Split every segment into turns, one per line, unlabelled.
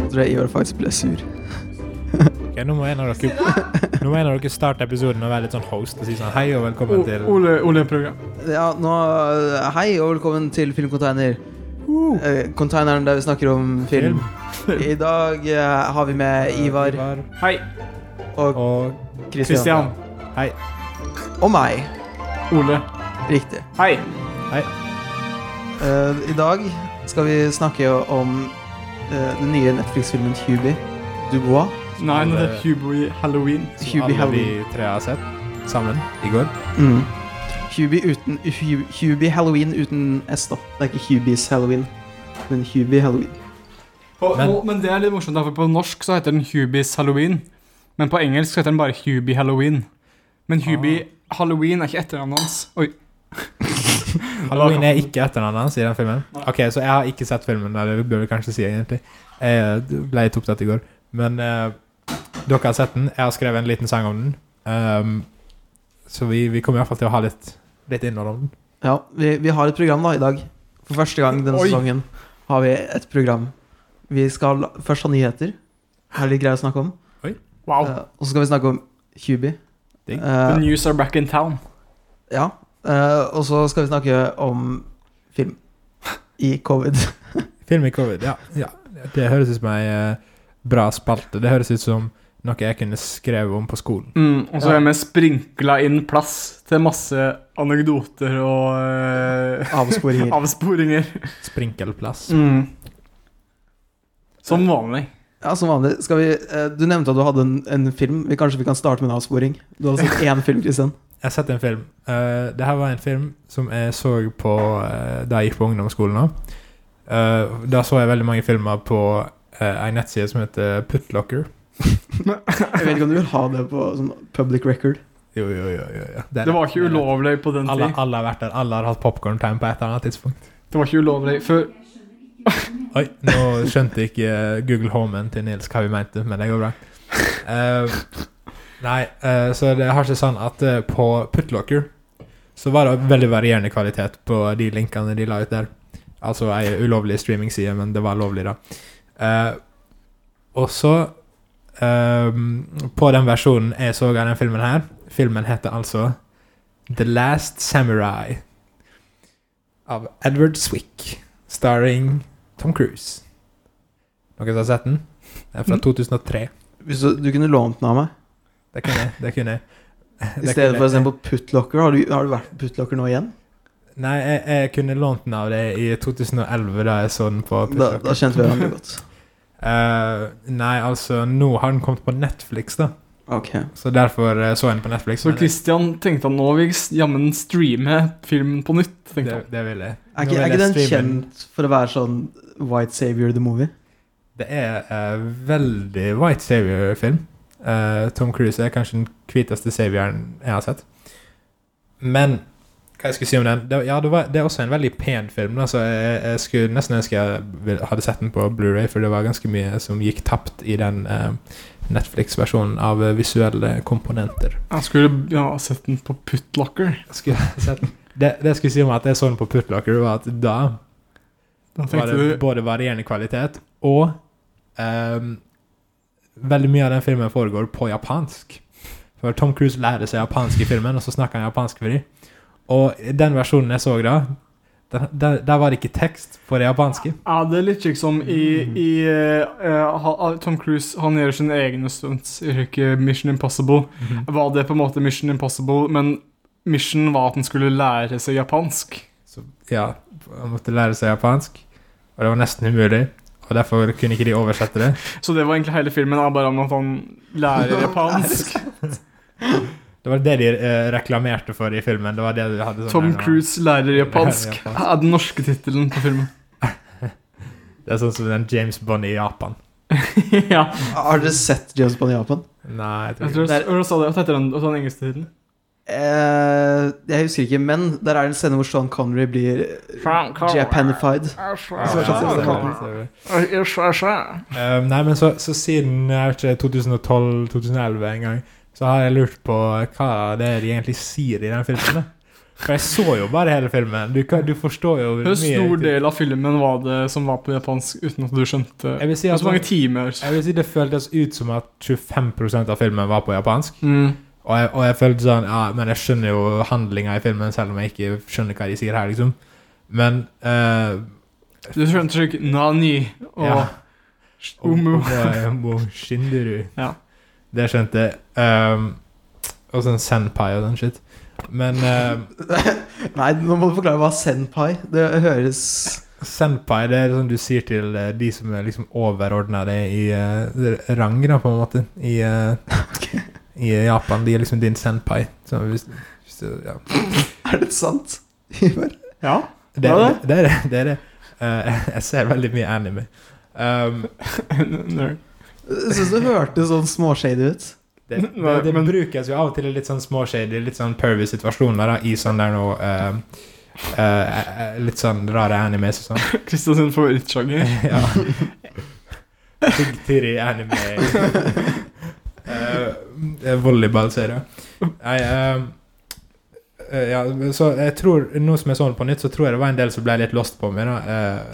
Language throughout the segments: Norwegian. andre i år faktisk ble sur.
Ok, nå må en av dere, nå må en av dere starte episoden og være litt sånn host og si sånn hei og velkommen til
Ole-program.
Ja, nå eh, Hei og velkommen til Filmcontainer. Eh, Containeren der vi snakker om film. I dag eh, har vi med Ivar
Hei,
og
og
Kristian.
Kristian.
hei.
Og meg.
Ole.
Riktig.
Hei.
Eh, I dag skal vi snakke om eh, den nye Netflix-filmen Hubie Dubois.
Nei, nå er det Hubie Halloween.
Som
Hubie
alle vi
Halloween.
tre har sett sammen i går.
Mm. Hubie, uten, Hu- Hubie Halloween uten S, da. Det er ikke Hubies Halloween, men Hubie Halloween.
Og,
Men-
og, men det er litt morsomt, da, for på norsk så heter den Hubies Halloween. Men på engelsk så heter den bare Hubie Halloween. Men Hubie
Ah.
Halloween er ikke etternavnet hans. Oi.
Halloween er ikke etternavnet hans i den filmen. Ok, Så jeg har ikke sett filmen. Eller det bør vi kanskje si egentlig Jeg ble litt opptatt i går. Men eh, dere har sett den. Jeg har skrevet en liten sang om den. Ehm, så vi, vi kommer iallfall til å ha litt, litt innhold om den.
Ja, vi, vi har et program da i dag. For første gang denne
Oi.
sesongen har vi et program. Vi skal først ha nyheter. Her er litt greier å snakke om.
Wow.
Eh, og så skal vi snakke om Hubie.
Digg.
The
Eh,
news are back in town.
ja. Eh, og så skal vi snakke om film i covid.
Film i covid, ja. ja. Det høres ut som ei eh, bra spalte. Det høres ut som noe jeg kunne skrevet om på skolen.
Mm, og så
Ja.
er vi sprinkla inn plass til masse anekdoter og eh,
Avsporinger.
avsporinger.
Sprinkelplass.
Mm. Som vanlig.
Ja, som vanlig. Skal vi, eh, du nevnte at du hadde en, en film. Vi, kanskje vi kan starte med en avsporing. Du hadde sett én film, Kristian.
Jeg har sett en film. Uh, det her var en film som jeg så på eh, da jeg gikk på ungdomsskolen. Da. Eh, da så jeg veldig mange filmer på eh, en nettside som heter Putlocker.
Jeg vet ikke om du vil ha det på sånn public record.
Jo, jo, jo, jo, jo. er
Det var
rett,
ikke
er rett.
ulovlig på den
Alle,
tid.
alle har vært der. Alle har hatt popkorn-time på et eller annet tidspunkt.
Det var ikke ulovlig før.
Oi, nå skjønte ikke eh, Google Homen til Nils hva vi mente, men det går bra. Eh, nei, eh, så det har seg sånn at eh, på Putlocker så var det veldig varierende kvalitet på de linkene de la ut der. Altså ei ulovlig streamingside, men det var lovlig, da. Eh, og så eh, På den versjonen jeg så av den filmen her Filmen heter altså The Last Samurai av Edward Swick, starring Tom Cruise. Noen som har sett den?
Mhm.
Den er fra 2003.
Hvis du, du kunne lånt den av meg.
Det kunne jeg. Det kunne jeg.
I stedet for å se på Putlocker. Har du, har du vært på Putlocker nå igjen?
Nei, jeg, jeg kunne lånt den av deg i 2011, da jeg så den på
Da,
Putlocker.
da kjente vi hverandre godt.
Eh, nei, altså, nå har den kommet på Netflix, da.
Ok.
Så derfor eh, så jeg den på Netflix.
Så
men jeg-
Christian tenkte at nå vil jeg jammen streame filmen på nytt. tenkte
det,
han.
det vil jeg.
Er ikke,
Nå vil
er
jeg
ikke den
streame den.
kjent for å være sånn White Savior the Movie?
Det er eh, veldig white savior-film. Eh, Tom Cruise er kanskje den hviteste savioren jeg har sett. Men hva jeg skulle si om den Det, ja, det, var, det er også en veldig pen film. Da, så jeg, jeg skulle nesten ønske jeg vil- hadde sett den på Blu-ray for det var ganske mye som gikk tapt i den eh, Netflix-versjonen av eh, visuelle komponenter.
Jeg skulle ja, sett den på Putlocker.
Jeg skulle sett den. Det, det jeg skulle si om at jeg så den på Putlocker, var at da
Da
var
tenkte
det
du
både varierende kvalitet og ehm, Veldig mye av den filmen foregår på japansk. For Tom Cruise lærer seg japansk i filmen, og så snakker han japansk for dem. Og i den versjonen jeg så da, der, der, der var det ikke tekst på det japanske.
Ja, det er litt slik som i,
Mm.
i eh, ha- Tom Cruise han gjør sine egne stunts. Gjør ikke Mission Impossible. Var det på en måte Mission Impossible, men Mission var at han skulle lære seg japansk.
Så ja, han måtte lære seg japansk, og det var nesten umulig. Og derfor kunne ikke de oversette det.
Så det var egentlig hele filmen er bare om at han lærer japansk.
Det var det de eh, reklamerte for i filmen. Det var det de hadde sånn
Tom
der-
Cruise lærer japansk
Lærer japansk.
er den norske tittelen på filmen.
Det er sånn som den James Bond i Japan.
ja.
Har dere sett James Bond i Japan?
Nei, jeg tror
Jeg
ikke
tror jeg, hva sa du? Hva heter den, hva sa den engelske tittelen?
Eh, jeg husker ikke, men der er det en scene hvor Sean Connery blir japanified.
det. Eh, nei, men så, så siden jeg vet ikke, 2012-2011 en gang, så har jeg lurt på hva det er de egentlig sier i den filmen. da. For jeg så jo bare hele filmen. Du, kan, du forstår jo
Hvor stor
til-
del av filmen var det som var på japansk uten at du skjønte
Jeg vil si
Det
at
var så mange timer.
Jeg vil si det føltes ut som at 25 av filmen var på japansk.
Mm.
Og jeg, og jeg følte sånn Ja, men jeg skjønner jo handlinga i filmen, selv om jeg ikke skjønner hva de sier her, liksom. Men eh,
Du skjønte ikke Nani og
ja.
Umu.
Omo Shinduru.
Ja.
Det skjønte jeg. Um, og sånn senpai og den shit. Men um,
Nei, nå må du forklare hva senpai Det høres
senpai, det er sånn du sier til eh, de som er liksom overordna deg i eh, rang, da, på en måte, i, eh, i Japan. De er liksom din senpai. Så hvis, hvis du, ja.
Er det sant? Ivar?
Ja.
Det
Ja,
er
det.
det. Det er det. det, er det. Eh, jeg ser veldig mye anime. Um,
Nerd.
Jeg syns det hørtes sånn småshady ut.
det, det,
Nei,
det
men-
brukes jo av og til i litt sånn småshady, litt sånn pervy situasjoner da, i sånn der nå eh, eh, eh, Litt sånn rare animes og sånn.
Kristian sin favorittsjanger.
ja. Tiggtiri anime Eh, det er Volleyballserie. Nei eh, eh, ja, så jeg tror Nå som jeg så den på nytt, så tror jeg det var en del som ble litt lost på meg. da. Eh,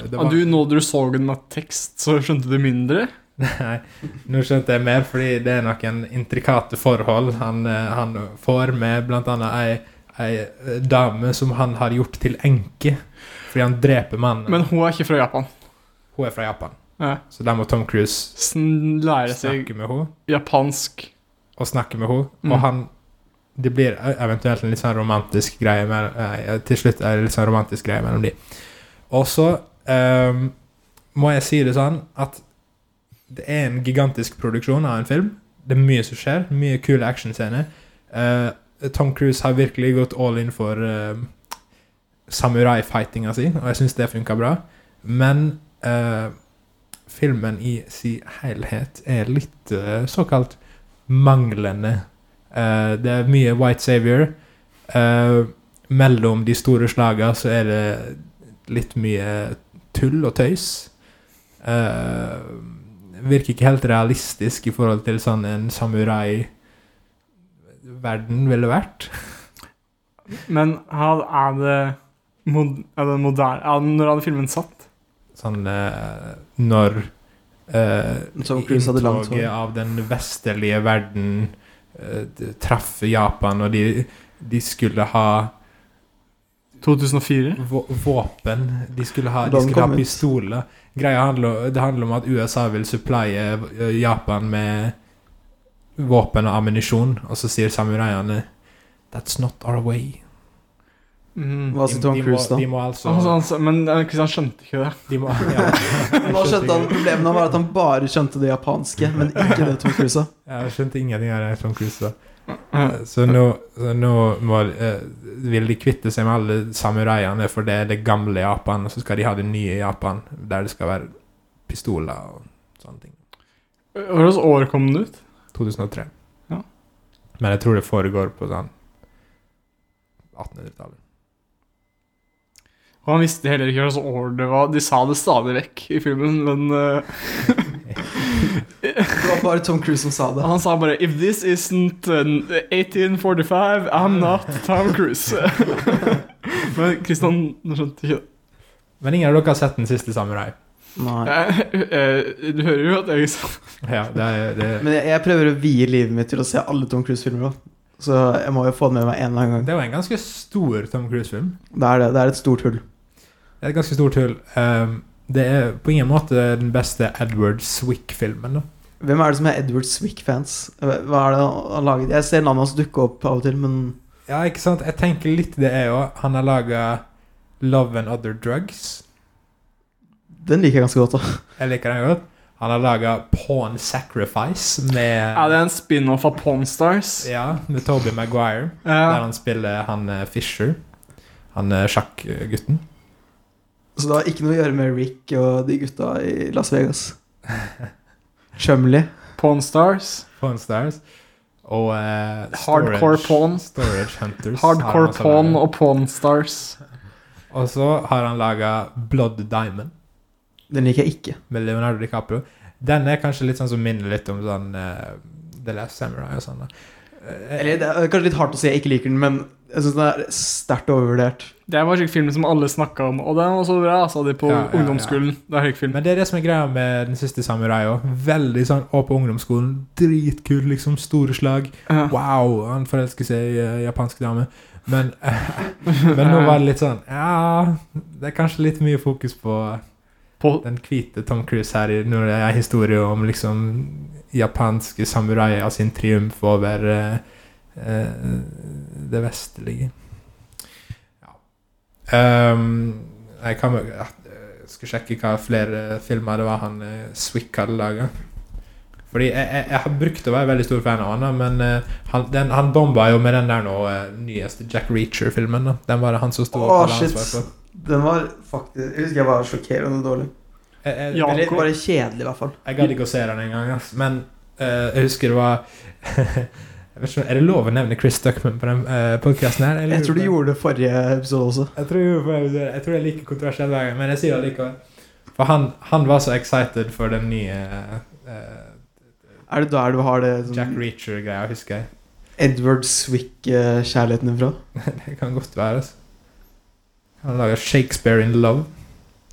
det
Ja,
var,
Ah, du, nå du så den med tekst, så skjønte du mindre?
Nei, nå skjønte jeg mer, fordi det er noen intrikate forhold han, eh, han får med blant annet ei, ei eh, dame som han har gjort til enke, fordi han dreper mannen.
Men hun er ikke fra Japan.
hun er fra Japan,
Ja.
så da må Tom Cruise
Sn- Lære Sånn seg
snakke med henne,
japansk.
og snakke med henne,
Mm.
og han det blir eh, eventuelt en litt sånn romantisk greie med, eh, Til slutt er det litt sånn romantisk greie mellom de. Og så eh, må jeg si det sånn at det er en gigantisk produksjon av en film. Det er mye som skjer. Mye kule actionscener. Eh, Tom Cruise har virkelig gått all in for eh, samurai-fightinga si, og jeg syns det funka bra. Men eh, filmen i sin helhet er litt eh, såkalt manglende. Eh, det er mye White Savior. Eh, mellom de store slaga så er det litt mye tull og tøys. Eh, virker ikke helt realistisk i forhold til sånn en samurai-verden ville vært.
Men her er det mod Er det moderne er det, Når er det filmen satt?
Sånn eh, når eh,
Tom Cruise hadde langt hår.
inntoget av den vestlige verden eh, d- traff Japan, og de, de skulle ha
2004?
Vå- Våpen. De skulle ha,
Da
de
den
skulle
kom
ha
ut.
pistoler. Greia handler, det handler om at USA vil supplye eh, Japan med våpen og ammunisjon, og så sier samuraiene That's not our way.
Mm.
Hva sier Tom
de,
Cruise,
må,
da?
de må altså
Han- han sa- men eh, Kristian skjønte ikke det.
de må, ja,
Nå skjønte han Problemet var at han bare skjønte det japanske, men ikke det Tom Cruise sa.
Jeg skjønte ingenting av det Tom Cruise sa.
Eh,
Så nå, så nå må, eh, vil de kvitte seg med alle samuraiene, for det er det gamle Japan, og så skal de ha det nye Japan, der det skal være pistoler og sånne ting.
Hvilket år kom den ut?
2003.
Ja.
Men jeg tror det foregår på sånn 1800-tallet.
Og han visste heller ikke hvilket år det var. De sa det stadig vekk i filmen, men eh,
Det var bare Tom Cruise som sa det.
han sa bare If this isn't eh, 1845, I'm not Tom Cruise. men Kristian skjønte ikke det.
Men ingen av dere har sett Den siste samurai?
Nei.
Eh, eh, Du hører jo at jeg sa
Ja, det er, det,
Men jeg, jeg prøver å vie livet mitt til å se alle Tom Cruise-filmer òg. Så jeg må jo få det med meg en eller annen gang.
det var en ganske stor Tom Cruise-film.
Det er, det, det er et stort hull.
Det er et ganske stort hull. Ehm, det er på ingen måte den beste Edward Swick-filmen. da.
Hvem er det som er Edward Swick-fans? Hva er det han har laget? Jeg ser navnet hans dukke opp av og til, men
Ja, ikke sant? Jeg tenker litt det er jo Han har laga Love and Other Drugs.
den liker jeg ganske godt. da
Jeg liker den godt. Han har laga Pawn Sacrifice med
Er det en spin-off av Pawn Stars?
Ja, med Toby Maguire. Der
Ja.
han spiller han eh, Fisher. Han eh, sjakkgutten.
Så det har ikke noe å gjøre med Rick og de gutta i Las Vegas. Chumley.
Pawn Stars.
Pawn Stars. Og eh, storage-
Hardcore Pawn.
Storage Hunters. har han
Hardcore
også
Pawn
laget.
og Pawn Stars.
Og så har han laga Blood Diamond
Den liker jeg ikke.
med Leonardo DiCaprio. Den er kanskje litt sånn som minner litt om sånn eh, The Last Samurai og sånn. da. Eh,
Eller det er kanskje litt hardt å si jeg ikke liker den, men Jeg syns den er sterkt overvurdert.
Det var en slik film som alle snakka om, og den var så bra, sa de på
Ja, ja, ja.
ungdomsskolen. Det er høykfilm.
Men det er det som er greia med Den siste samurai òg. Veldig sånn opp på ungdomsskolen. Dritkul, liksom. Store slag.
Ja.
Wow, han forelsker seg i eh, japansk dame. Men, eh, men nå
Eh.
var det litt sånn Ja, det er kanskje litt mye fokus på
På,
den hvite Tom Cruise her i- når det er historie om liksom japanske samuraier sin triumf over eh, eh, det vestlige. Ja. Ehm, jeg kan vel- ja, jeg skal sjekke hva flere filmer det var han eh, Swick hadde laga. Fordi jeg, jeg, jeg har brukt å være veldig stor fan av han, da, men eh, han, den, han bomba jo med den der nå eh, nyeste Jack Reacher-filmen. da. Den var det han som sto
Åh,
hadde
shit.
ansvar for.
Den var faktisk Jeg husker jeg var sjokkerende dårlig.
Jeg, jeg,
Ja,
Eller
hvor-
bare kjedelig, i hvert fall.
Jeg gadd ikke å se den engang, ass. men eh, jeg husker det var jeg vet ikke, Er det lov å nevne Chris Duckman på den uh, podkasten her?
Jeg tror du gjorde det forrige episode også.
Jeg tror, jeg tror det er like kontroversiell hver gang, men jeg sier det likevel. For han, han var så excited for den nye eh,
Er det der du har det
Jack
sånn,
Reacher-greia, husker jeg.
Edward Swick-kjærligheten fra?
Det kan godt være. Altså. Han lager 'Shakespeare in Love'.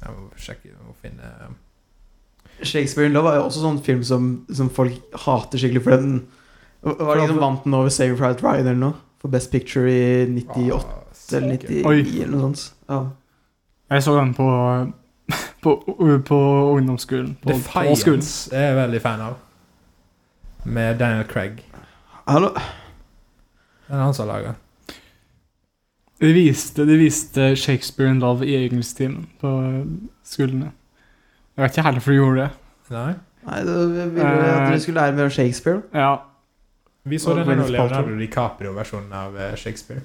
Jeg må sjekke jeg må finne eh,
Shakespeare in Love er jo også sånn film som, som folk hater skikkelig for den. Var det liksom vant den over Save Pride Ryan eller noe? For Best Picture
Ah,
i 98 eller 99
Oi.
eller noe sånt. Ja.
jeg så den på, på, på ungdomsskolen. På, på skolen.
Defiance er jeg veldig fan av. Med Daniel Craig.
Hallo?
Den er han som har laget.
De viste, de viste Shakespeare in Love i engelsktimen på skolene. Jeg vet ikke heller hvorfor de gjorde det.
Nei.
Nei, da ville jeg at
Eh.
dere skulle lære mer om Shakespeare.
Ja,
Vi så
Og
den her nå,
Gwyneth Paltrow.
Leonardo DiCaprio-versjonen av eh, Shakespeare.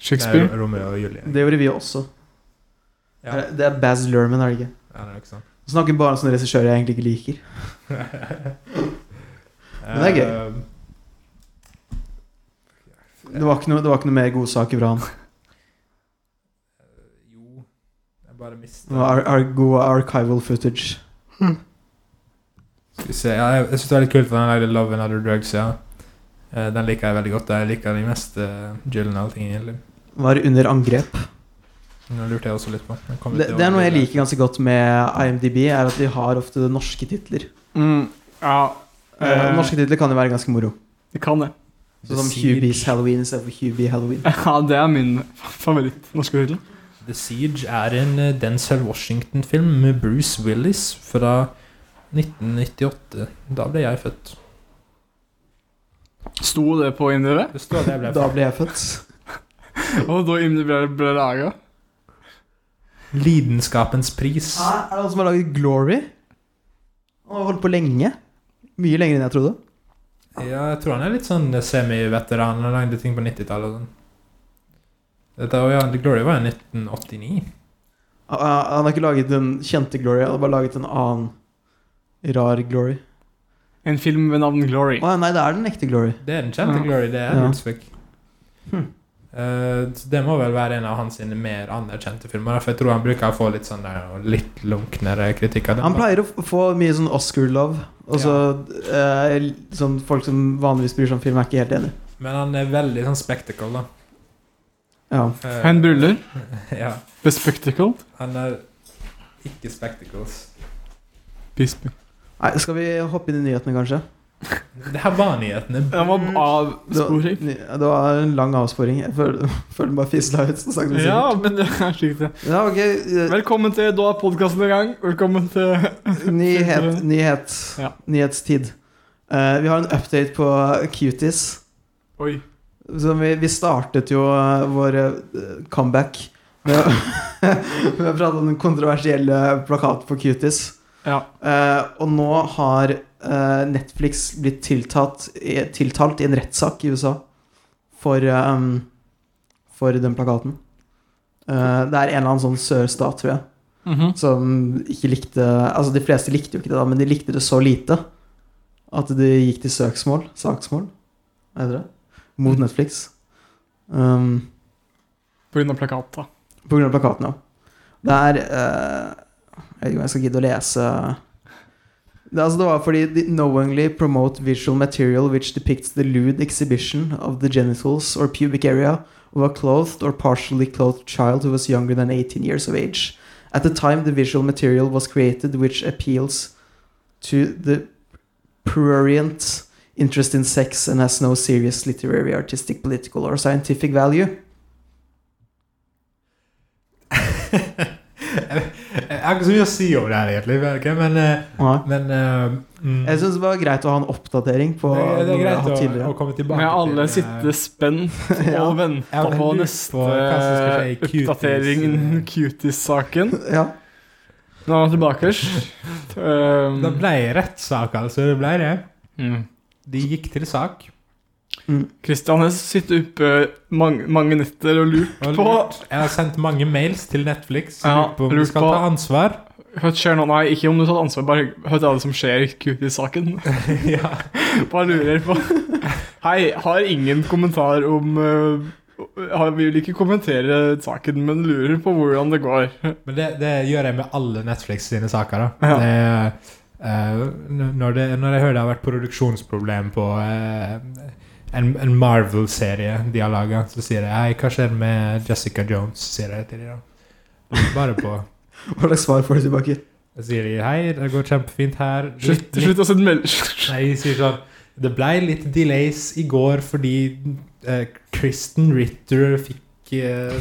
Shakespeare.
Nei, Romeo og Julie.
Det eh. gjorde vi også.
Ja,
Er- Det er Baz Lerman, er det ikke?
ja, det er ikke sant.
Snakker bare om sånne regissører jeg egentlig ikke liker. Men det er
gøy.
Det var ikke noe, det var ikke noe mer godsaker fra han.
Jo Jeg bare
Det
mistet
var ar ar god archival footage.
Skal vi se. Ja, jeg jeg syns det er litt kult at han lagde 'Love and Other Drugs'. ja. Eh, Den liker jeg veldig godt. Jeg liker de mest uh, Gyllenhaal-tingene. egentlig.
Var under angrep.
Nå lurte jeg også litt på. Jeg kom
Det,
litt
det er noe jeg
over-
liker ganske godt med IMDb, er at de har ofte norske titler.
Mm, ja,
Eh,
eh,
norske titler kan jo være ganske moro.
det kan det.
Sånn som
The Siege.
Hubie's Halloween istedenfor Hubie Halloween.
Ja, det er min favoritt-norske tittel.
The Siege er en eh, Denzel Washington-film med Bruce Willis fra 1998. Da ble jeg født.
Sto det på IMDb?
Det står at jeg ble
Da ble jeg født.
Og da IMDb ble laga?
født. Lidenskapens pris.
Hæ? Er det han som har laget Glory? Han har holdt på lenge. Mye lenger enn jeg trodde.
Ja, jeg tror han er litt sånn semi-veteran. Han lagde ting på 90-tallet og sånn. Dette var, ja, The Glory var jo 1989.
Ah, ah, Han har ikke laget den kjente Glory, han har bare laget en annen rar Glory.
En film ved navn Glory.
Å nei, det er den ekte Glory.
Det er den kjente
Ja.
Glory, det er
Ja.
Ulsvik.
Hm.
Eh, så det må vel være en av hans sine mer anerkjente filmer. da, For jeg tror han bruker å få litt sånn der og litt lunknere kritikk. av det.
Han pleier å f- få mye sånn Oscar-love. Og så eh, sånn folk som vanligvis bryr seg om film, er ikke helt enig.
Men han er veldig sånn spectacle, da.
Ja.
Eh,
Hen Bruller.
Ja.
The Spectacle.
Han er ikke spectacles.
Bispe.
Nei, skal vi hoppe inn i nyhetene, kanskje?
Det her var nyhetene.
Den var avsporing.
Det var, det var en lang avsporing. Jeg føler føler den bare fisla ut. Så sagt,
Ja, men det er slik det.
ja, ok. eh,
Velkommen til Da er podkasten i gang. Velkommen til
Nyhet, nyhet.
Ja.
Nyhetstid. Eh, vi har en update på Cuties.
Oi.
Som vi, vi startet jo eh, vår eh, comeback med, å- med å prate om den kontroversielle plakaten for Cuties.
Ja.
Eh, og nå har eh, Netflix blitt tiltalt, i- tiltalt i en rettssak i USA for, eh, for den plakaten. Eh, det er en eller annen sånn sørstat, tror jeg,
Mhm.
Mhm.
som ikke likte Altså, de fleste likte jo ikke det, da, men de likte det så lite at det gikk til søksmål. Saksmål, hva heter det? Mot Netflix. Um,
På grunn av plakata.
på grunn av plakaten, ja. Det er eh, Jeg vet ikke om jeg skal gidde å lese det, er altså, det var fordi de knowingly promote visual material which depicts the lewd exhibition of the genitals or pubic area of a clothed or partially clothed child who was younger than 18 years of age. At the time, the visual material was created which appeals to the prurient interest in sex and has no serious literary, artistic, political, or scientific value.
Jeg har ikke så mye å si om det her, egentlig, men- ok, men, eh,
Nei.
men eh, mm.
Jeg syns det var greit å ha en oppdatering på
det, er- det
noe
er
jeg har
greit
hatt
å,
tidligere.
å komme tilbake
Men alle
til, eh,
sitter spent
Ja.
Jeg
og venter
lurer
på
på
neste
hva som skal skje i Cuties,
oppdatering
eh.
innen Cuties-saken.
Ja.
Nå er vi tilbake. hysj. Um,
Det ble rettssak, altså. Det ble det.
mm.
De gikk til sak.
Christian har sittet oppe mange, mange netter og lurt
Og
på
lurt. Jeg har sendt mange mails til Netflix
Ja,
lurt på om de
lurt
skal
på-
ta ansvar.
Hva skjer nå? Nei, ikke om du tar ansvar, bare hør til alle som skjer i Cuties-saken.
ja.
Bare lurer på Hei, har ingen kommentar om eh, har- Vil ikke kommentere saken, men lurer på hvordan det går.
Men det, det gjør jeg med alle Netflix sine saker. da.
Ja.
Det, eh, n- når, det, når jeg hører det har vært produksjonsproblem på eh, en, en Marvel-serie de har laga, så sier jeg Hei, hva skjer med Jessica Jones? sier jeg til dem. Bare på.
Hva slags svar får du tilbake?
Jeg sier de, hei, det går kjempefint her.
Slutt,
Litt-
slutt å sende meld...
Nei, jeg sier sånn Det ble litt delays i går fordi eh, Kristen Ritter fikk eh,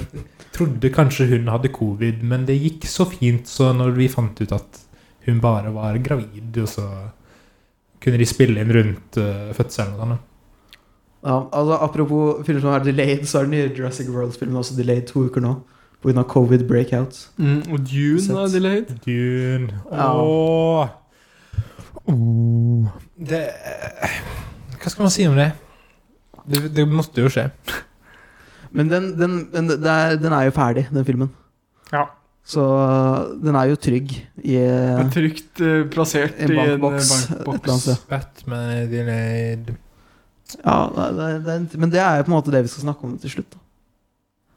Trodde kanskje hun hadde covid, men det gikk så fint, så når vi fant ut at hun bare var gravid, og så kunne de spille inn rundt eh, fødselen og sånn. da.
Ja, altså Apropos filmer som er delayed, så er den nye Jurassic World-filmen også delayed to uker nå. Pga. covid breakout.
Mm, og Dune
Sett.
er delayed.
Dune.
Ja.
Åh. Åh. Det eh, Hva skal man si om det? Det, det måtte jo skje.
Men den, den, den, det er, den er jo ferdig, den filmen.
Ja.
Så øh, den er jo trygg i øh,
Men trygt eh, plassert
En
i en eh,
bankboks, et eller annet
bankboks.
sted.
Batman er delayed.
Ja, det, er- det, er- men det er jo på en måte det vi skal snakke om til slutt. da.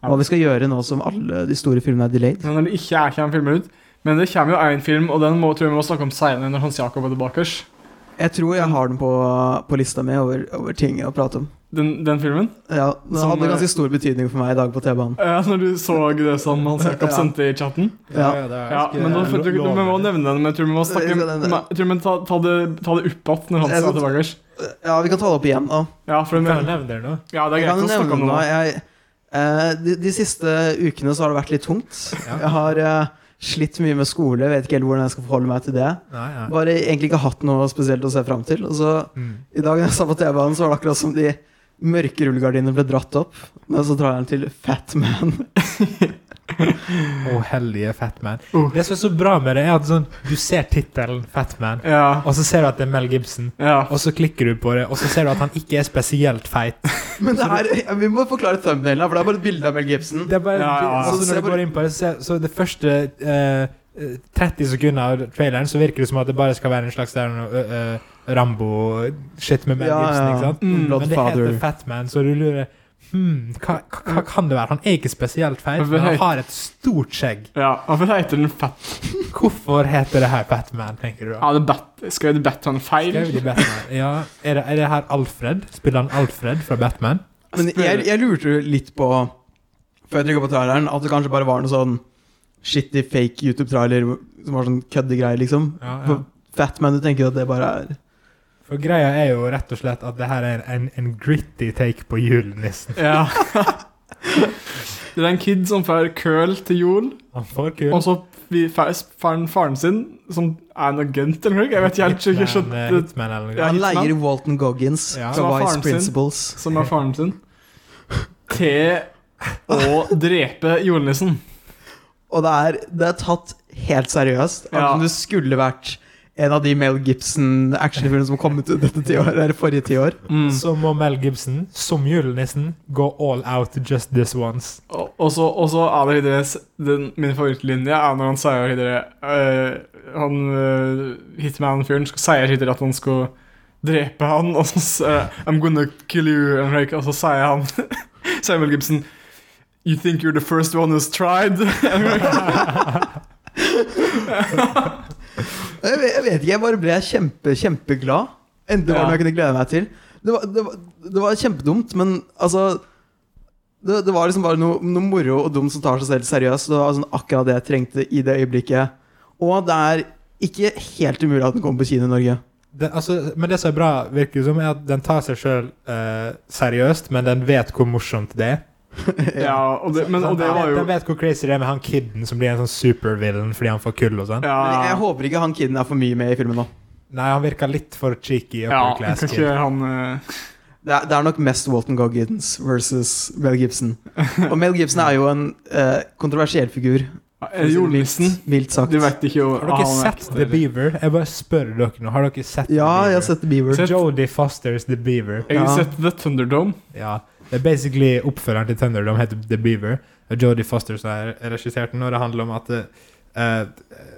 Hva vi skal gjøre nå som alle de store filmene er delayed.
Når det ikke er kommer filmer ut. Men det kommer jo én film, og den må, tror jeg vi må snakke om seinere når Hans Jakob er tilbake.
Jeg tror jeg har den på, øh, på lista mi over, over ting å prate om.
Den, den filmen.
Ja, Den
Som,
hadde
eh,
ganske stor betydning for meg i dag på T-banen.
Eh, når du så det som Hans Jakob
Ja.
sendte i chatten.
Ja.
Ja, men nå følte jeg ikke Vi må nevne den, men jeg tror vi må snakke
Jeg skal nevne den.
Nei, jeg tror vi må ta, ta det, ta det opp igjen når
Jeg
Hans
skal-
er tilbake.
Ja, vi kan ta det opp igjen. da.
Ja, for
Kan jeg
den,
nevne det nå?
ja, det
Jeg
er greit
kan
å snakke
nevne
om det.
noe.
nå.
Jeg, eh, de, de siste ukene så har det vært litt tungt.
Ja.
Jeg har eh, slitt mye med skole, vet ikke helt hvordan jeg skal forholde meg til det.
Nei, nei.
Bare egentlig ikke hatt noe spesielt å se fram til. Og så
Mm.
I dag når jeg sa på T-banen, så var det akkurat som de mørke rullegardinene ble dratt opp. Men så drar jeg den til Fat Man.
Mm.
Å, hellige Fat Man.
Oh.
Det som er så bra med det, er at sånn, du ser tittelen Fat Man,
Ja,
og så ser du at det er Mel Gibson.
ja.
Og så klikker du på det, og så ser du at han ikke er spesielt feit.
Men det er, ja, vi må forklare thumbnailen, her, for det er bare et bilde av Mel Gibson.
Det er bare,
Ja, ja, ja.
altså, når du går inn på det, så, så det første eh, eh, 30 sekunder av traileren, så virker det som at det bare skal være en slags der, eh, eh, Rambo-shit med Mel
Ja,
Gibson.
ja.
ikke sant?
Mm,
Men det
Bloodfather.
heter Fat Man, så du lurer hmm, hva, hva, hva kan det være? Han er ikke spesielt feit,
Hvorfor
men han
het-
har et stort skjegg.
ja. Hvorfor heter den Fat...
Hvorfor heter det her Batman, tenker du da?
Ja, det er Bat... Skrev det Batman feil?
Skrev de Batman? Ja, er det, er det her Alfred? Spiller han Alfred fra Batman?
Altså,
Men jeg, jeg lurte jo litt på, før jeg trykket på traileren, at det kanskje bare var noe sånn shitty fake YouTube-trailer som var sånn køddegreier, liksom.
Ja, ja.
For Fat Man, du tenker jo at det bare er
For greia er jo rett og slett at det her er en, en gritty take på julenissen.
Ja. det er en kid som får køl til jul,
Han får kul.
og så vi- fa- får han faren sin, som er en agent eller noe, jeg vet ikke helt, ikke
Hitman, eh,
skjønt,
Hitman eller noe.
Ja,
Han
Hitman.
leier Walton Goggins
Ja.
fra
Som er
Vice
faren sin.
Principles.
som er faren sin, til å drepe julenissen.
Og det er, det er tatt helt seriøst.
Ja.
At det skulle vært en av de Mel Gibson-actionfilmene som kom ut dette tiåret, eller forrige tiår.
Mm.
Så må Mel Gibson, som julenissen, gå all out just this once.
Og og så, og så er det i det s- den, Min favorittlinje er når han sier i det øh, Han øh, hitman-fyren sk- sier i det at han skal drepe han, og så sier I'm gonna kill you, and like, og så sier han Sier Mel Gibson You think you're the first one who's tried?
Jeg vet, jeg vet ikke, jeg bare ble kjempe, kjempeglad. Endelig var det noe jeg kunne glede meg til. Det var, det var, det var kjempedumt, men altså det, det var liksom bare noe, noe moro og dumt som tar seg selv seriøst. og Det var sånn akkurat det jeg trengte i det øyeblikket. Og det er ikke helt umulig at den kommer på kino i Norge.
Den, altså, men det som er bra, virker det som, er at den tar seg sjøl eh, seriøst, men den vet hvor morsomt det er.
Ja, og det, men, og det var jo
Den vet hvor crazy det er med han kiden som blir en sånn supervillain fordi han får kull og sånn.
Men jeg
ja,
håper ikke han kiden er for mye med i filmen nå.
Nei, han virker litt for cheeky.
ja,
upper class
kanskje
kid.
han eh,
Det er, det er nok mest Walton Goggins versus Mel Gibson. Og Mel Gibson er jo en eh, kontroversiell figur.
eh, Julenissen.
Vilt sagt.
Du vet ikke jo
Har dere
han er
sett
ikke så
The
veldig-
Beaver? Jeg bare spør dere nå. Har dere sett
Ja,
The Beaver?
jeg har sett The Beaver.
Sett-
Jodie Fosters The Beaver.
Jeg har
Ja.
sett The Thunderdome.
Ja, det er basically oppfølgeren til Thunderdome heter The Beaver. Og Jodie Foster som har regissert den, og det handler om at eh, eh,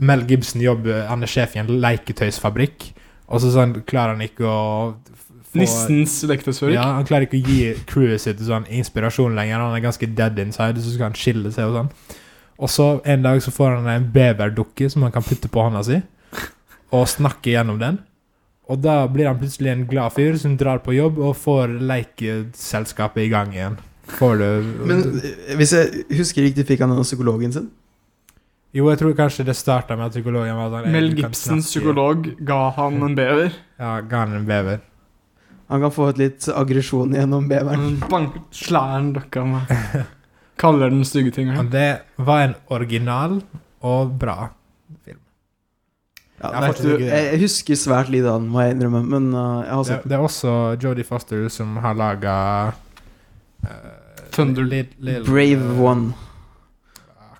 Mel Gibson jobber, han er sjef i en leketøysfabrikk, og så sånn, klarer han ikke å f- få
Nissens lektesfører.
ja, Han klarer ikke å gi crewet sitt sånn inspirasjon lenger. Han er ganske dead inside, så skal han skille seg og sånn. Og så en dag så får han en beverdukke som han kan putte på hånda si, og snakke gjennom den. Og da blir han plutselig en glad fyr som drar på jobb og får lekeselskapet i gang igjen. Får du
Men eh, hvis jeg husker riktig, fikk han den av psykologen sin.
Jo, jeg tror kanskje det starta med at psykologen var sånn
Mel
«Hey, du kan
Gibsons
snakke».
psykolog ga han en bever.
Ja, ga han en bever.
Han kan få et litt aggresjon gjennom beveren.
Han banket slæren dere med. Kaller den stygge ting.
Og det var en original og bra.
Ja,
Jeg har
vet
faktisk
du,
ikke det.
jeg jeg husker svært lite av den, må jeg innrømme. Men eh, jeg har
Det,
sett
det er også Jodie Foster som har eh, laga
Thunder.
eh,
Brave One,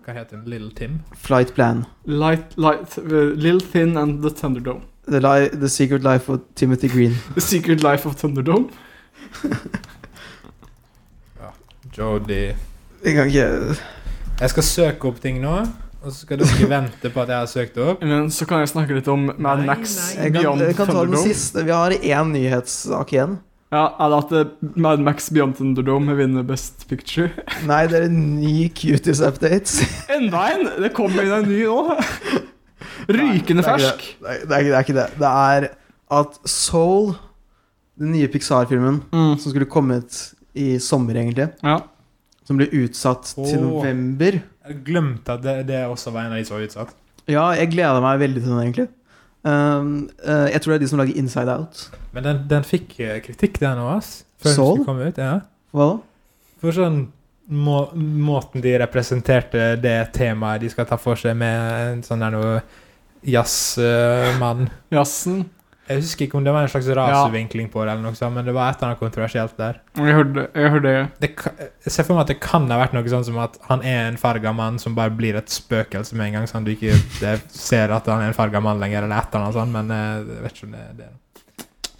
Hva heter den? Little Tim?
Flight Plan,
Light, light, uh, Little Thin and The Thunderdome.
The, li the Secret Life of Timothy Green.
The Secret Life of Thunderdome.
Jodie
Jeg kan ikke
Jeg skal søke opp ting nå, og så skal dere vente på at jeg har søkt det opp.
Men så kan jeg snakke litt om Mad
Nei,
Max
nei.
jeg kan,
Beyond
jeg kan ta den
Thunderdome.
siste. Vi har én nyhetssak igjen.
Ja, er det at eh, Mad Max Beyond Thunderdome vinner Best Picture?
Nei, det er en ny Cuties Updates.
Enda en! Det kom inn en ny nå.
Nei, det
Rykende
er ikke
fersk.
det. Nei, det, er, ikke- det er ikke det. Det er at Soul, den nye Pixar-filmen
Mm.
som skulle kommet i sommer, egentlig,
Ja.
som ble utsatt til
Åh.
november
Jeg glemte at det, det også var en av de som var utsatt.
Ja, jeg gleder meg veldig til den, egentlig. Um, eh, jeg tror det er de som lager Inside Out.
Men den, den fikk eh, kritikk, den òg, ass. Før
Soul?
den skulle komme ut. Ja.
Hva da?
For sånn må, måten de representerte det temaet de skal ta for seg med en sånn der noe jazzmann
Jazzen.
Jeg husker ikke om det var en slags rasevinkling på det, eller noe sånt, men det var et eller annet kontroversielt der.
Jeg hørte jeg hørte det.
Det, ka- jeg ser for meg at det kan ha vært noe sånn som at han er en farga mann som bare blir et spøkelse med en gang, sånn du ikke eh, ser at han er en farga mann lenger, eller et eller annet sånt, men eh, jeg vet ikke om det er det.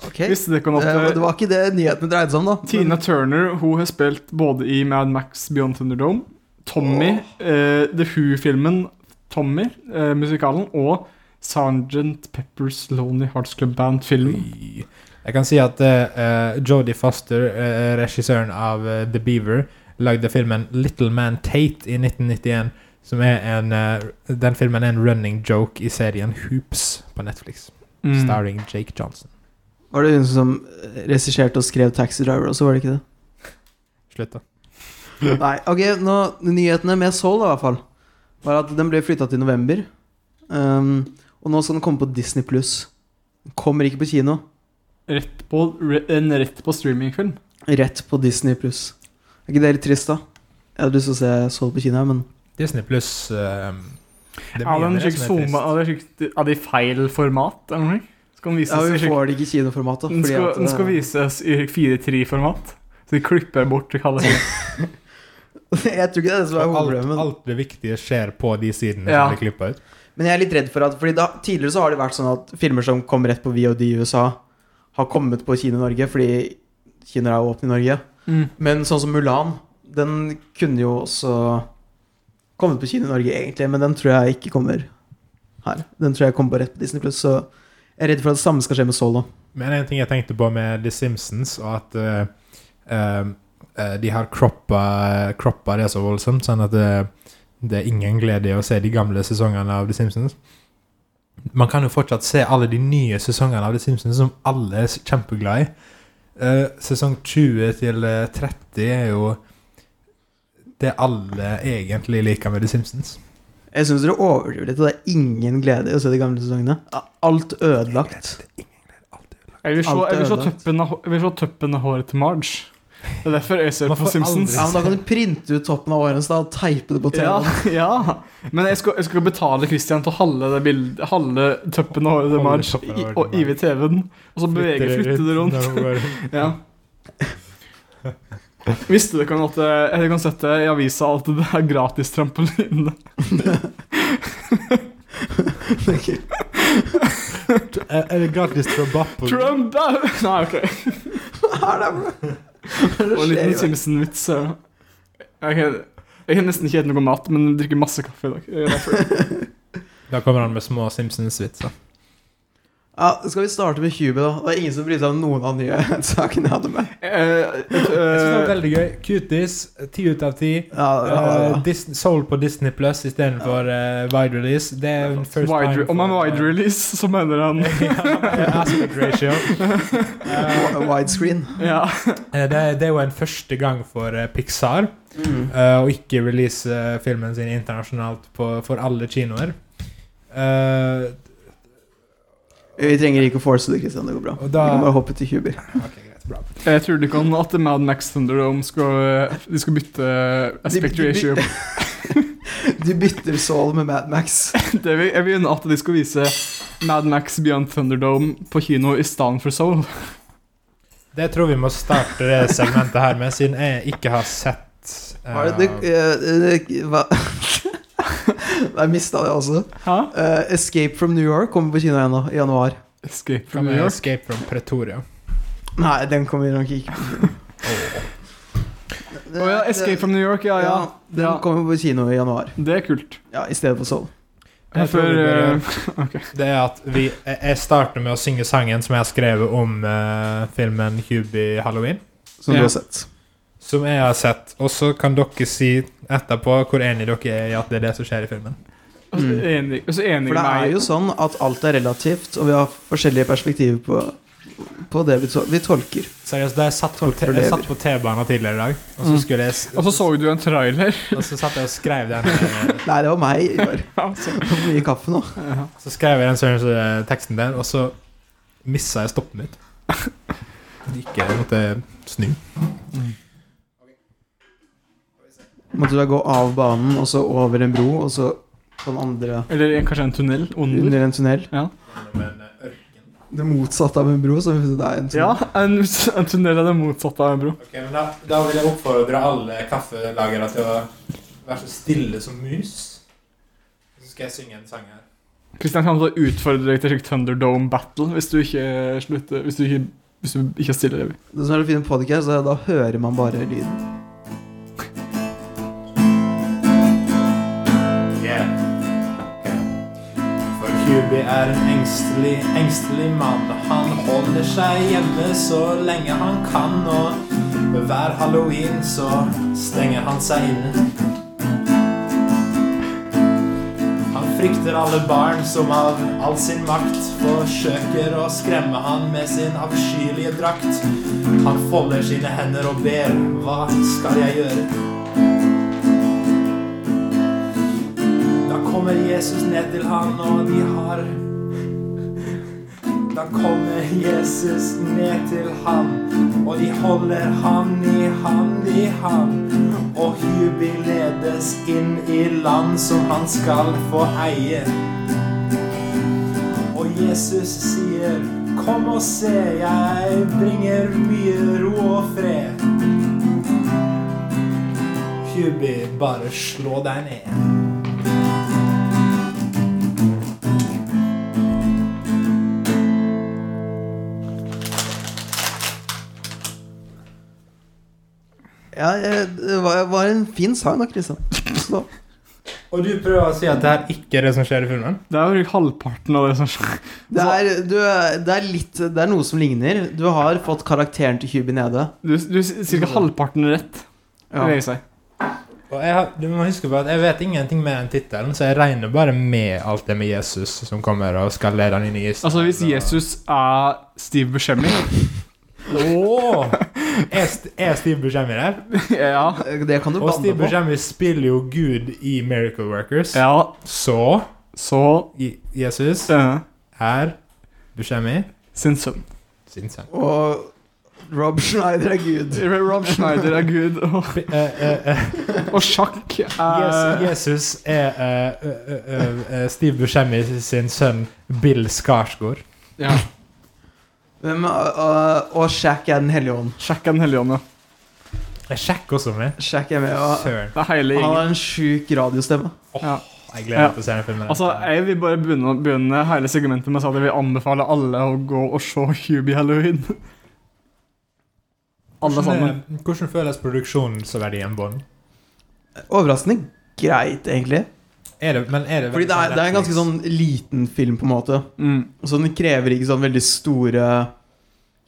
Ok,
Visste dere ikke om
Eh,
at
Det
eh,
var ikke det nyhetene dreide seg om, da.
Tina Turner hun har spilt både i Mad Max Beyond Thunderdome, Tommy, eh, The Who-filmen Tommy, eh, musikalen, og Sergeant Peppers Lonely Hearts Club Band-filmen.
Oi. Jeg kan si at uh, Jodie Foster, eh, regissøren av eh, The Beaver, lagde filmen Little Man Tate i 1991, som er en eh, Den filmen er en running joke i serien Hoops på Netflix,
Mm.
starring Jake Johnson.
Var det hun som regisserte og skrev Taxi Driver også, var det ikke det?
Slutt, da.
Nei, ok, nå, Nyhetene med Soul, da, i hvert fall, var at den ble flytta til november. Um, og nå skal den komme på Disney pluss. Kommer ikke på kino.
Rett på, re, en rett på streamingfilm.
Rett på Disney pluss. Er ikke det litt trist, da? Jeg hadde lyst til å se Soul på kino, men
Disney pluss eh, det er mye altså,
Er det en
med det
slik
som er
zooma-
trist.
er det slik- er det i feil format? eller noe? Skal den
ja,
vises i
vi
slik-
får det ikke i kinoformat. da,
den
fordi
skal,
at
den
det-
skal vises i 4.3-format. Så de klipper bort det kalde
Jeg tror ikke det er det som er
Og
hovedproblemet.
alt,
men-
alt det viktige skjer på de sidene
Ja.
som blir klippa ut.
Men jeg er litt redd for at Fordi da, tidligere så har det vært sånn at filmer som kom rett på VOD i USA, har kommet på kino i Norge fordi kinoer er åpne i Norge.
Mm.
Men sånn som Mulan, den kunne jo også kommet på kino i Norge, egentlig, men den tror jeg ikke kommer her. Den tror jeg kommer på rett på Disney Pluss, så jeg er redd for at det samme skal skje med Soul nå.
Men en ting jeg tenkte på med The Simpsons, og at eh, eh, eh, de har croppa, croppa det så voldsomt, sånn at det, det er ingen glede i å se de gamle sesongene av The Simpsons. Man kan jo fortsatt se alle de nye sesongene av The Simpsons som alle er kjempeglad i. eh, sesong 20 til eh, 30 er jo det alle egentlig liker med The Simpsons.
Jeg syns dere overdriver litt, og det er ingen glede i å se de gamle sesongene. Alt ødelagt.
Jeg vil se,
Alt er
jeg vil se,
ødelagt.
tuppen, av, jeg vil se tuppen av håret til Marge. Det er derfor jeg ser
Man
på
får
Simpsons.
Ja, men Da kan du printe ut toppen av årens da, og teipe det på
Ja,
TV-en.
ja. Men jeg skal, jeg skal betale Christian til å halve det bildet Halve tuppen av håret til
Halve
Marge
tuppen av
i-
håret til
og IV TV-en. Og så beveger flytte det rundt. Ja. Visste dere at det, jeg kan sette i avisa at det er gratis trampoline?
Er er det gratis til å bappe?
Trump er Nei, OK.
Hva er det, bro? Hva er
Det
det
var en
skjer i
liten
dag?
Simpson-vits. så- Jeg, kan- jeg kan nesten ikke spise noe mat, men drikker masse kaffe i dag. Det er derfor.
Da kommer han med små Simpsons-vitser.
Ja, skal vi starte med Cube, da? Det er ingen som bryr seg om noen av de nye sakene jeg hadde med.
Eh,
Jeg synes det var
eh,
veldig gøy. Cuties, 10 ut av 10.
Ja, ja,
Eh,
ja.
Disney, Soul på Disney Plus istedenfor uh, wide release. Det er en first time
wide,
eh,
re- om en wide release, så mener han
ja, aspect ratio. Eh,
Wi- Widescreen.
Ja.
eh, det, det er jo en første gang for eh, Pixar
Mm.
eh, å ikke release eh, filmen sin internasjonalt på, for alle kinoer. Eh,
Vi trenger ikke å force det, Christian. Det går bra.
Og
Vi
da-
kan bare hoppe til Cuber.
ok, greit, bra.
Jeg tror du kan at Mad Max Thunderdome skal, eh, de skal bytte aspect
De- de-
ratio.
De bytter Saul med Mad Max.
Det vil, jeg vil gjerne at de skal vise Mad Max Beyond Thunderdome på kino i stedet for Soul.
Det tror vi må starte det segmentet her med, siden jeg ikke har sett eh,
Hva er det du eh, eh, Hva? Der mista jeg også.
Hæ?
Eh, Escape from New York kommer på kino igjen nå, i januar.
Escape
Hva
from
med
New York.
Escape from Pretoria.
Nei, den kommer nok ikke.
Å ja, Escape from New York, ja ja.
Den
Ja.
kommer på kino i januar.
Det er kult.
Ja, I stedet for Soul.
Jeg tror
For,
vi bør gjøre-
eh,
Det er at vi, jeg- jeg starter med å synge sangen som jeg har skrevet om eh, filmen Hubie Halloween.
Som
Ja.
du har sett.
Som jeg har sett. Og så kan dere si etterpå hvor enig dere er i at det er det som skjer i filmen.
Og så
Mm.
altså, enig, og så enig
For det
med
er jo sånn at alt er relativt, og vi har forskjellige perspektiver på, på det vi, tol vi tolker.
Seriøst, da jeg satt på, te- jeg satt på T-banen tidligere i dag, og så
Mm.
skulle jeg s-
Og så så du en trailer.
og så satt jeg og skrev den eh,
Nei, det var meg i år.
Altså.
Det var for mye kaffe nå.
Ja.
Så skrev jeg den sånn, eh, teksten der, og så missa jeg stoppet mitt. Det gikk jeg måtte snu.
Måtte da gå av banen, og så over en bro, og så på den andre
Eller en- kanskje en tunnel under.
under en tunnel.
eh,
Det motsatte av en bro, som det er en tunnel.
Ja, en, en tunnel er det motsatte av en bro.
Ok, men da, da vil jeg oppfordre alle kaffelagere til å være så stille som mus. Så skal jeg synge en sang her.
Kristian kan da utfordre deg til slik Thunderdome Battle hvis du ikke slutter Hvis du ikke, hvis du ikke stiller deg.
Det som er det fine med podcast, er at da hører man bare lyden.
Yeah. For Kubi er en engstelig, engstelig mann. Han holder seg hjemme så lenge han kan, og hver halloween så stenger han seg inne. Han frykter alle barn som av all sin makt forsøker å skremme han med sin avskyelige drakt. Han folder sine hender og ber, hva skal jeg gjøre? Da kommer Jesus ned til han, og de har Da kommer Jesus ned til han, og de holder han i hand i hand. Og Hubi ledes inn i land som han skal få eie. Og Jesus sier, kom og se, jeg bringer mye ro og fred. Hubi, bare slå deg ned.
Ja, eh, det var, var en fin sang da, Kristian. Så,
Og du prøver å si at det her ikke er det som skjer i filmen?
Det er jo halvparten av det som skjer.
det, er, du, det er litt Det er noe som ligner. Du har fått karakteren til Hubi nede.
Du, du sier ikke halvparten rett.
Ja.
vil jeg si.
Og jeg, har- du må huske på at jeg vet ingenting mer enn tittelen, så jeg regner bare med alt det med Jesus som kommer og skal lede han inn i Jesus.
Altså, hvis Jesus er Steve Buscemi,
Åh! Er, St- er Steve Buscemi der?
ja.
Det kan du
Og
banne
Steve
på.
Buscemi spiller jo Gud i Miracle Workers.
ja.
Så
Så
Je- Jesus
eh,
er Buscemi
sin sønn.
sin sønn.
Og Rob Schneider er gud.
Rob Schneider er gud, og,
B- eh, eh, eh,
og sjakk
Jes-
er
Jesus er eh, eh, eh, eh, Steve Buscemi sin sønn Bill Skarsgård.
ja.
Hvem, og, og Shaq er Den hellige ånd.
Sjakk er Den hellige ånd, ja.
Jeg sjekker også med.
Shaq er med. Og
Søren.
Det er hele
han
gjengen.
har en sjuk radiostemme.
Jeg gleder meg til å se den filmen.
Altså, Jeg vil bare begynne, begynne hele segmentet med å si at jeg vil anbefale alle å gå og se Hubie Halloween. Alle
Hvordan,
sammen.
eh, hvordan føles produksjonen som verdi en bånd?
Overraskende greit, egentlig.
Er det, men er det
Fordi det er, det er en ganske sånn liten film, på en måte.
Mm.
Så den krever ikke sånn veldig store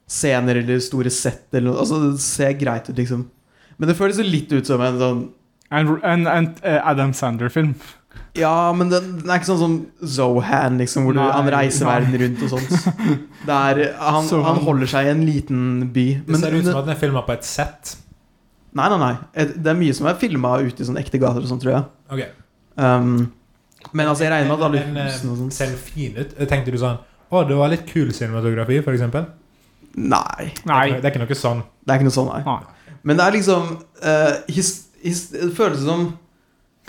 scener eller store sett eller noe. Altså, det ser greit ut, liksom. Men det føles jo litt ut som en sånn
En, en, en eh, Adam Sander-film.
Ja, men den, den er ikke sånn som Zohan, liksom, hvor du,
Nei,
han reiser
nei.
verden rundt og sånt. Det er, han,
Zohan.
han holder seg i en liten by.
Det
Men
ser ut som
nei,
at den er filma på et sett.
nei, nei. Det er mye som er filma ute i sånne ekte gater og sånn, tror jeg.
Ok
Um, men altså, jeg regner med at alle
Men, eh,
husene og sånt
Ser den fin ut? Tenkte du sånn Å, det var litt kul cinematografi, for eksempel?
Nei,
Nei.
Det er ikke noe sånn.
det er ikke noe sånn, nei.
Nei.
Men det er liksom eh, his, his, Det føles som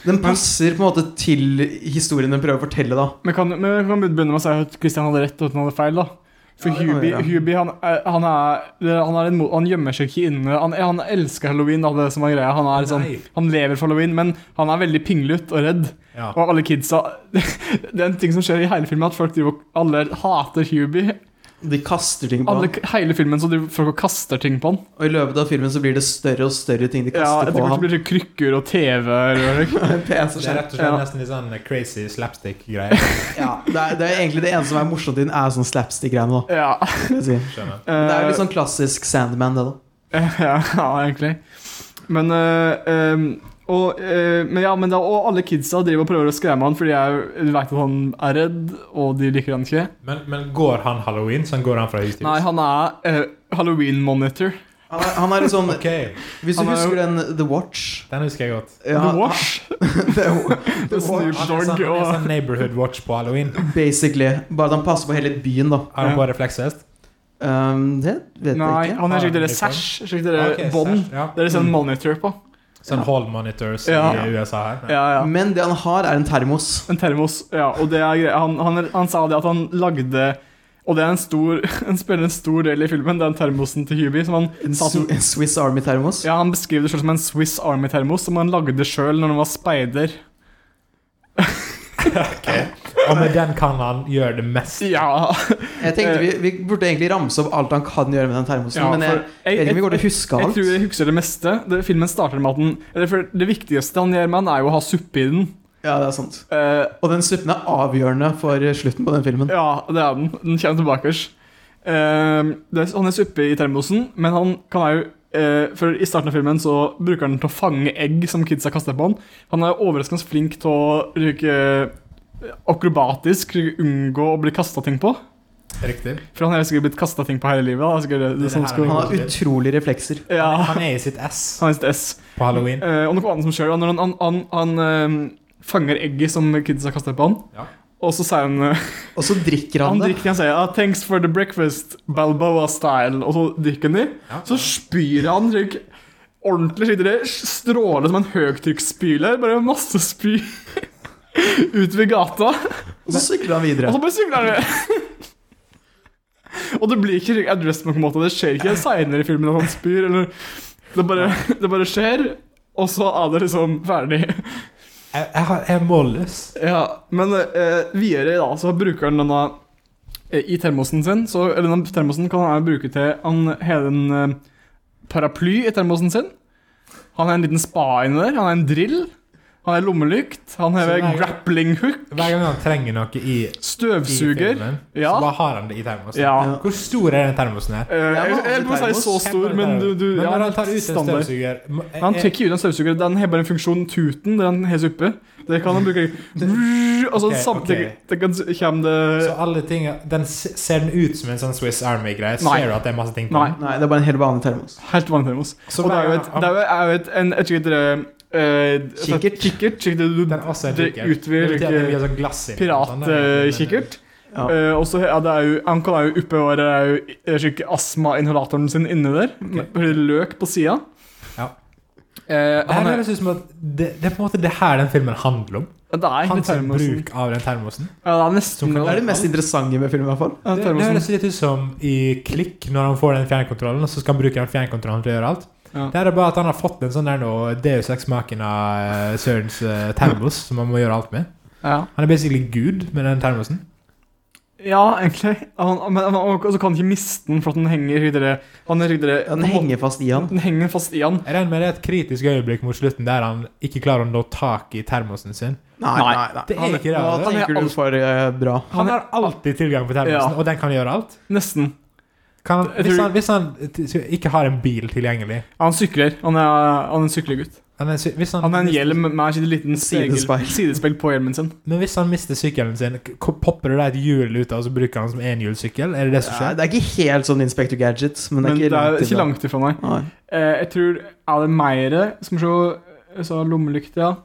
Den passer på en måte til historien den prøver å fortelle, da.
Men kan, men jeg kan begynne med å si at Christian hadde rett og at han hadde feil. da For
Ja, det kan vi
Hubie,
gjøre.
Hubie han, er- han, er, han, er en, mo- han gjemmer seg ikke inne. Han, han elsker halloween. Da, det som er greia Han er sånn
Nei.
han lever for halloween, men han er veldig pinglete og redd.
Ja.
Og alle kidsa Det er en ting som skjer i hele filmen, at folk driver, og- alle hater Hubie.
De kaster ting på
Alle,
ham.
hele filmen så driver folk og kaster ting på han.
Og i løpet av filmen så blir det større og større ting de
Ja,
kaster
Etter
på
hvert så
ham.
blir det krykker og TV-er.
PC
og-
Så det er
skjer.
rett og slett
Ja.
nesten litt sånn crazy slapstick-greier.
Ja, det, er, det er egentlig det eneste som er morsomt i den, er sånn slapstick-greiene. da
Ja.
vil jeg si.
Skjønner.
Men Det er jo
eh,
litt sånn klassisk Sandman, det, da.
ja, Eh, ja, egentlig. Men eh, ehm, og, eh, men ja, men da, og alle kidsa driver og prøver å skremme han fordi jeg vet at han er redd, og de liker han ikke.
Men, men går han halloween? Sånn går han fra hus til
Nei,
hus?
han er eh, halloween-monitor.
Han er, han er litt sånn
Ok,
Hvis du
han er jo-
husker den The Watch
den husker jeg godt.
ja,
The Wash.
The Wa- The Watch.
Snoop
Han er sånn,
Dogg
han er
og
sånn neighborhood watch på halloween.
Basically. Bare at han passer på hele byen, da.
Har han på refleksvest?
Um, det vet
Nei,
jeg ikke.
han er slik dere
Ah,
sash. Slik
Ah,
dere
ok,
bånd.
sæsj, Ja.
Det er sånn monitor på.
Sånn hall monitors
Ja.
i USA her.
Ja, ja.
Men det han har, er en termos.
En termos, ja. Og det er greia. Han, han, han sa det at han lagde Og det er en stor Han spiller en stor del i filmen, den termosen til Hubie. Som han,
En,
sa at
Su-
han,
en Swiss Army-termos.
ja, han beskriver det selv som en Swiss Army-termos, som han lagde sjøl når han var speider.
Og med den kan han gjøre det mest.
Ja,
Jeg tenkte vi, vi burde egentlig ramse opp alt han kan gjøre med den termosen.
eh, ja
men jeg,
for-
jeg vet ikke om vi går til å huske
jeg
alt.
tror jeg husker det meste. Det, filmen starter med at den eller for Det viktigste han gjør med den, er jo å ha suppe i den.
Ja, det er sant.
Eh,
Og den suppen er avgjørende for eh, slutten på den filmen.
Ja, det er den. Den kommer tilbake. Ehm, det er, han er suppe i termosen, men han kan er jo eh, For I starten av filmen så bruker han den til å fange egg som kidsa kaster på han. Han er overraskende flink til å ryke akrobatisk ryke, unngå å bli kasta ting på.
Riktig.
For han er sikkert blitt kasta ting på hele livet. Da. Sikkert, det,
Det er
det, sånn
det her
skulle-
Han har utrolige reflekser.
ja,
Han er i sitt ess
han er sitt S.
på halloween.
Eh, og noe annet som skjer da, når han, han, han, han ehm, fanger egget som kidsa kaster på han,
Ja.
og så sier han eh,
Og så drikker han,
Han
det.
drikker, han sier ah, 'thanks for the breakfast, Balboa style', og så drikker han de.
Ja.
Så spyr han drikk, ordentlig skikkelig det stråler som en høytrykksspyler. Bare masse spy ut ved gata,
Og så sykler han
og
videre.
så bare sykler han. og det blir ikke addressed på noen måte, det skjer ikke seinere i filmen at han spyr. Eller, det, bare, det bare skjer, og så er det liksom ferdig.
Jeg, jeg, har- jeg er målløs.
Ja, men eh, videre da, så bruker han denne eh, i termosen sin, så eller denne termosen kan han bruke til han hele en eh, paraply i termosen sin. Han har en liten spa inni der, han har en drill. Han har lommelykt, han
Så
har
hver gang-
grappling hook,
Hver gang han trenger noe i, i
støvsuger
filmen,
Ja.
så bare har han det i termosen.
Ja.
Ja.
Hvor stor er den termosen her?
Eh, Jeg
men han
jeg må
har
si
termos.
så stor, men du, du
Men
ja,
når han tar ut en
standard.
støvsuger må-
Han
er-
tar ikke ut en støvsuger. Den har bare en funksjon, tuten. Den har suppe. Det kan han bruke. Altså,
Ok,
samtidig
ok.
det kan, kommer det
Så alle ting den, s- Ser den ut som en sånn Swiss Army-greie?
Nei.
Ser du at det er masse ting på
Nei.
den?
Nei, det er bare en helt vanlig termos.
Helt vanlig termos.
Så
Og det
hver
er jo
gang
et,
han-
det er jo, er jo et, en, et slikt eh,
Kikkert.
kikkert. Slik det du
Den er også en
det
kikkert. Det betyr at det blir
utvider
sånn glass i den, sånn der.
piratkikkert.
Ja.
Eh, og så ja, det er jo, Ankle er jo oppe og det er jo eh, slik astmainhalatoren sin inni der. Med med løk på sida.
Ja.
Eh,
Det her
han er,
høres ut som at det, det er på en måte det her den filmen handler om.
det er
Hans
termosen.
bruk av den termosen.
Ja, det er nesten
Det er det mest interessante med filmen, i hvert fall.
Ja,
Det, det
termosen.
høres litt ut som i Klikk, når han får den fjernkontrollen, og så skal han bruke den fjernkontrollen til å gjøre alt.
Ja.
Det er bare at han har fått en sånn der nå Deus Ex-maken av eh, Sørens eh, termos, som han må gjøre alt med.
Ja.
Han er basically gud med den termosen.
Ja, egentlig. Han, men men- og og så kan han ikke miste den, for at den henger i det Han er i det
Den henger fast i han.
den henger fast i han.
Jeg regner med det er et kritisk øyeblikk mot slutten der han ikke klarer å nå tak i termosen sin.
Nei,
Nei,
nei, nei.
Det er
Han-
ikke det,
Nå
altså.
tenker du for eh, bra.
Han har alltid tilgang på termosen,
Ja.
og den kan gjøre alt.
Nesten.
Kan han,
Jeg
hvis,
tror-
han, hvis han t- ikke har en bil tilgjengelig
Ja, han sykler. Han er, han er en syklegutt.
han er, sy- hvis han,
Han har en hjelm med en sånn liten spegel-
Sidespeil.
sidespeil på hjelmen sin.
Men hvis han mister sykkelen sin, k- popper det da et hjul ut av, og så bruker han som enhjulssykkel? Er det det som
Ja,
skjer?
det er ikke helt sånn Inspector Gadget, men det er
Men
ikke,
det er ikke
ifra.
langt ifra, nei.
Nei.
Eh, jeg tror Er det Meire som ser Så lommelykt, ja.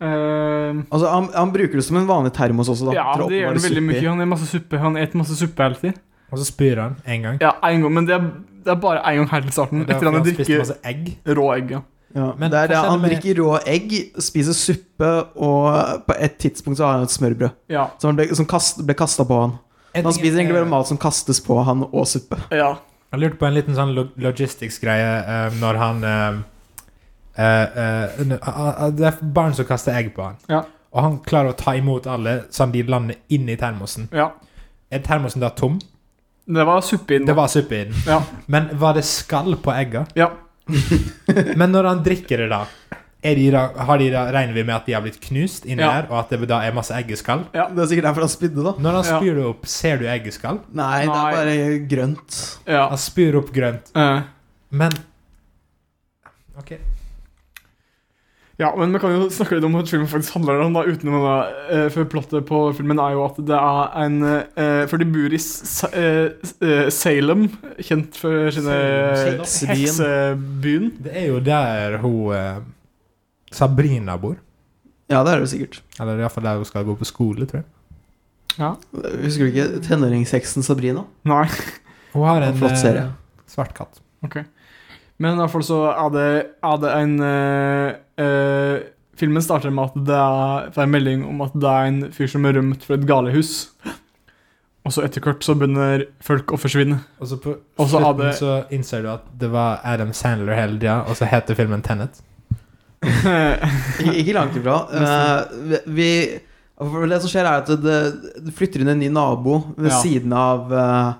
Eh,
Altså, han, han bruker det som en vanlig termos også, da.
ja,
til å
det gjør han
oppbevare suppe
veldig
i.
mye. Han er masse suppe. Han et masse suppe hele tiden.
Og så spyr han én gang.
Ja, en gang, men det er, det er bare én gang helt til starten.
Det er
Etter
fordi
han
han spiste
drikker
masse egg.
rå egg. Ja.
Ja,
Men
det er det.
hva skjedde
Han
med-
drikker rå egg, spiser suppe, og på et tidspunkt så har han et smørbrød
Ja.
som ble, som kast, ble kasta på han. Han spiser egentlig
eh,
bare mat som kastes på han, og suppe.
ja.
Jeg lurte på en liten sånn log- logistics-greie eh, når han eh, eh, eh, n- a- a- Det er barn som kaster egg på han.
Ja.
Og han klarer å ta imot alle sånn de lander inni termosen.
ja.
Er termosen da tom?
Det var suppe i den.
Det var suppe i den.
Ja.
Men var det skall på egga?
Ja.
Men når han drikker det, da, er de da, har de da regner vi med at de har blitt knust inni
Ja.
der, og at det da er masse eggeskall?
Det er sikkert derfor han spydde, da.
Når han
Ja.
spyr det opp, ser du eggeskall?
Nei, det
Nei.
er bare grønt.
Ja.
Han spyr opp grønt,
Eh,
men OK.
ja, men vi kan jo snakke litt om hva filmen faktisk handler om, da, utenom det. eh, for plottet på filmen er jo at det er en eh, For de bor i Sa eh, eh, Salem, kjent for sine
Salem.
heksebyen.
Det er jo der hun eh, Sabrina bor.
Ja, det er det sikkert.
Eller iallfall der hun skal gå på skole, tror jeg.
Husker du ikke tenåringsheksen Sabrina?
Nei.
Hun har en
En flott
eh,
serie.
svart katt.
Men i hvert fall så er det, er det en eh, eh, Filmen starter med at det er, det er en melding om at det er en fyr som er rømt fra et galehus. Og så etter hvert så begynner folk å forsvinne.
Og så på
Og så
slutten
hadde-
så innser du at det var Adam Sandler hele tida, og så heter filmen Tenet.
Mm,
Ikke, ikke langt ifra. Eh, vi, for det som skjer, er at det, det flytter inn en ny nabo ved
Ja.
siden av eh,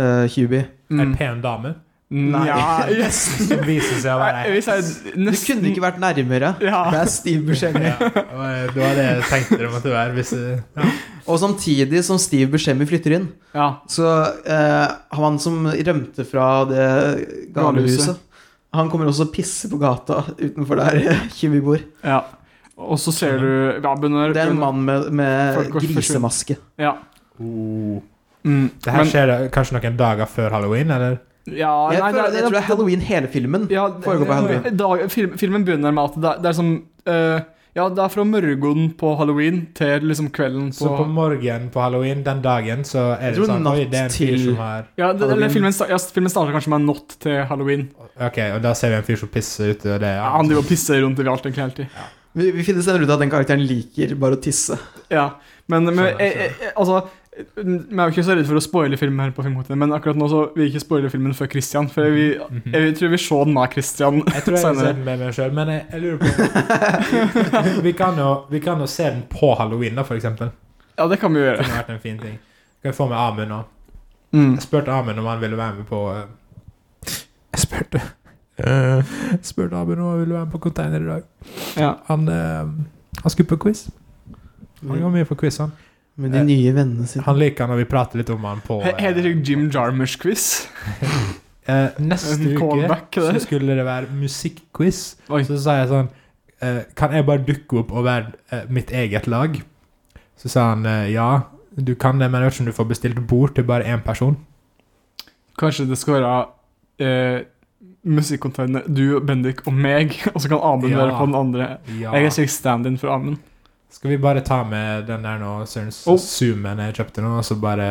eh, Hubie.
En
Mm.
pen dame
Nei.
Ja, yes.
som viser seg å
Nei,
være
jeg vil si
Du
nesten
kunne ikke vært nærmere. Det
ja.
er Steve Buscemi.
ja, og, eh, Det var det jeg tenkte det måtte være. Hvis, eh, ja.
Og samtidig som Steve Buscemi flytter inn,
ja.
så eh, har han som rømte fra det
Galehuset.
galehuset Han kommer også og pisser på gata utenfor der Hubie bor.
ja. Og så ser du ja, begynner,
Det er en mann med, med
Folk går
grisemaske.
Ja.
oh.
Mm.
Det her
Men,
skjer det kanskje noen dager før halloween, eller?
ja,
Jeg,
nei, det,
føler, jeg tror det er halloween hele filmen.
ja,
foregår på
det,
Halloween.
dag, film, filmen begynner med at det, er- det er som eh, Ja, det er fra morgenen på halloween til liksom kvelden på,
Så på morgenen på halloween den dagen, så er
Jeg
det
tror
sånn Oi,
natt
det er en fyr
til-
som har
Ja, det, eller
Halloween.
filmen, sta- ja, filmen starter kanskje med en natt til halloween.
Ok, og da ser vi en fyr som pisser ute, og det er
Ja, han driver og pisser rundt overalt egentlig hele tiden.
Vi, vi finner senere ut at den karakteren liker bare å tisse.
Ja, men, men
Skjønner,
jeg, jeg, jeg, altså vi er jo ikke så redde for å spoile filmen her på Filmkvoten, men akkurat nå så vil jeg ikke spoile filmen før Christian. For vi,
Mhm.
jeg tror vi ser den med Christian
Jeg tror jeg vil se
senere.
den med meg sjøl, men jeg, jeg lurer på vi kan, jo, vi kan jo se den på halloween, da, for eksempel.
Ja, det kan vi
Det
gjøre.
kunne vært en fin ting. Kan jeg få med Amund nå? Jeg spurte Amund om han ville være med på eh, Jeg spurte Jeg spurte Amund om han ville være med på container i dag.
Ja.
Han eh, Han skulle på quiz. Han går mye på quiz, han.
Med de nye vennene sine.
Han liker når vi prater litt om han på
He- Heter det Jim Jarmers-quiz?
eh, Neste
En
uke
callback,
så
det.
skulle det være musikkquiz.
Oi.
Så sa jeg sånn eh, Kan jeg bare dukke opp og være eh, mitt eget lag? Så sa han eh, ja, du kan det, men jeg vet ikke om du får bestilt bord til bare én person.
Kanskje det skal være eh, musikkontaktene du, Bendik og meg, og så kan Amund
Ja.
være på den andre.
Ja.
Jeg er sikkert stand-in for Amund.
Skal vi bare ta med den der nå, Sørens
Oh.
Zoomen jeg kjøpte nå, og så bare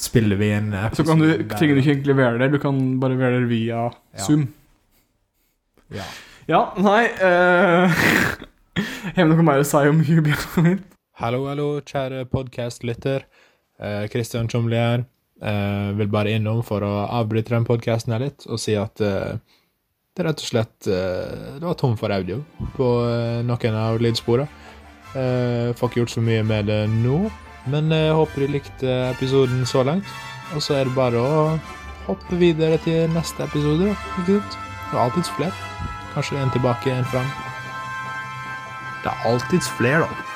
spiller vi en
Så kan du,
der.
trenger du ikke egentlig være der, du kan bare være der via
Ja.
Zoom.
Ja.
Ja, nei eh, Har vi noe mer å si om jubileet mitt?
Hallo, hallo, kjære podkastlytter. Kristian uh, Tjomli her. Eh, vil bare innom for å avbryte den podkasten her litt og si at eh, det rett og slett eh, Det var tom for audio på eh, noen av lydsporene. Eh, får ikke gjort så mye med det nå, men eh, håper de likte episoden så langt. Og så er det bare å hoppe videre til neste episode, da. Ikke sant? Det er alltids flere. Kanskje en tilbake, en fram. Det er alltids flere, da.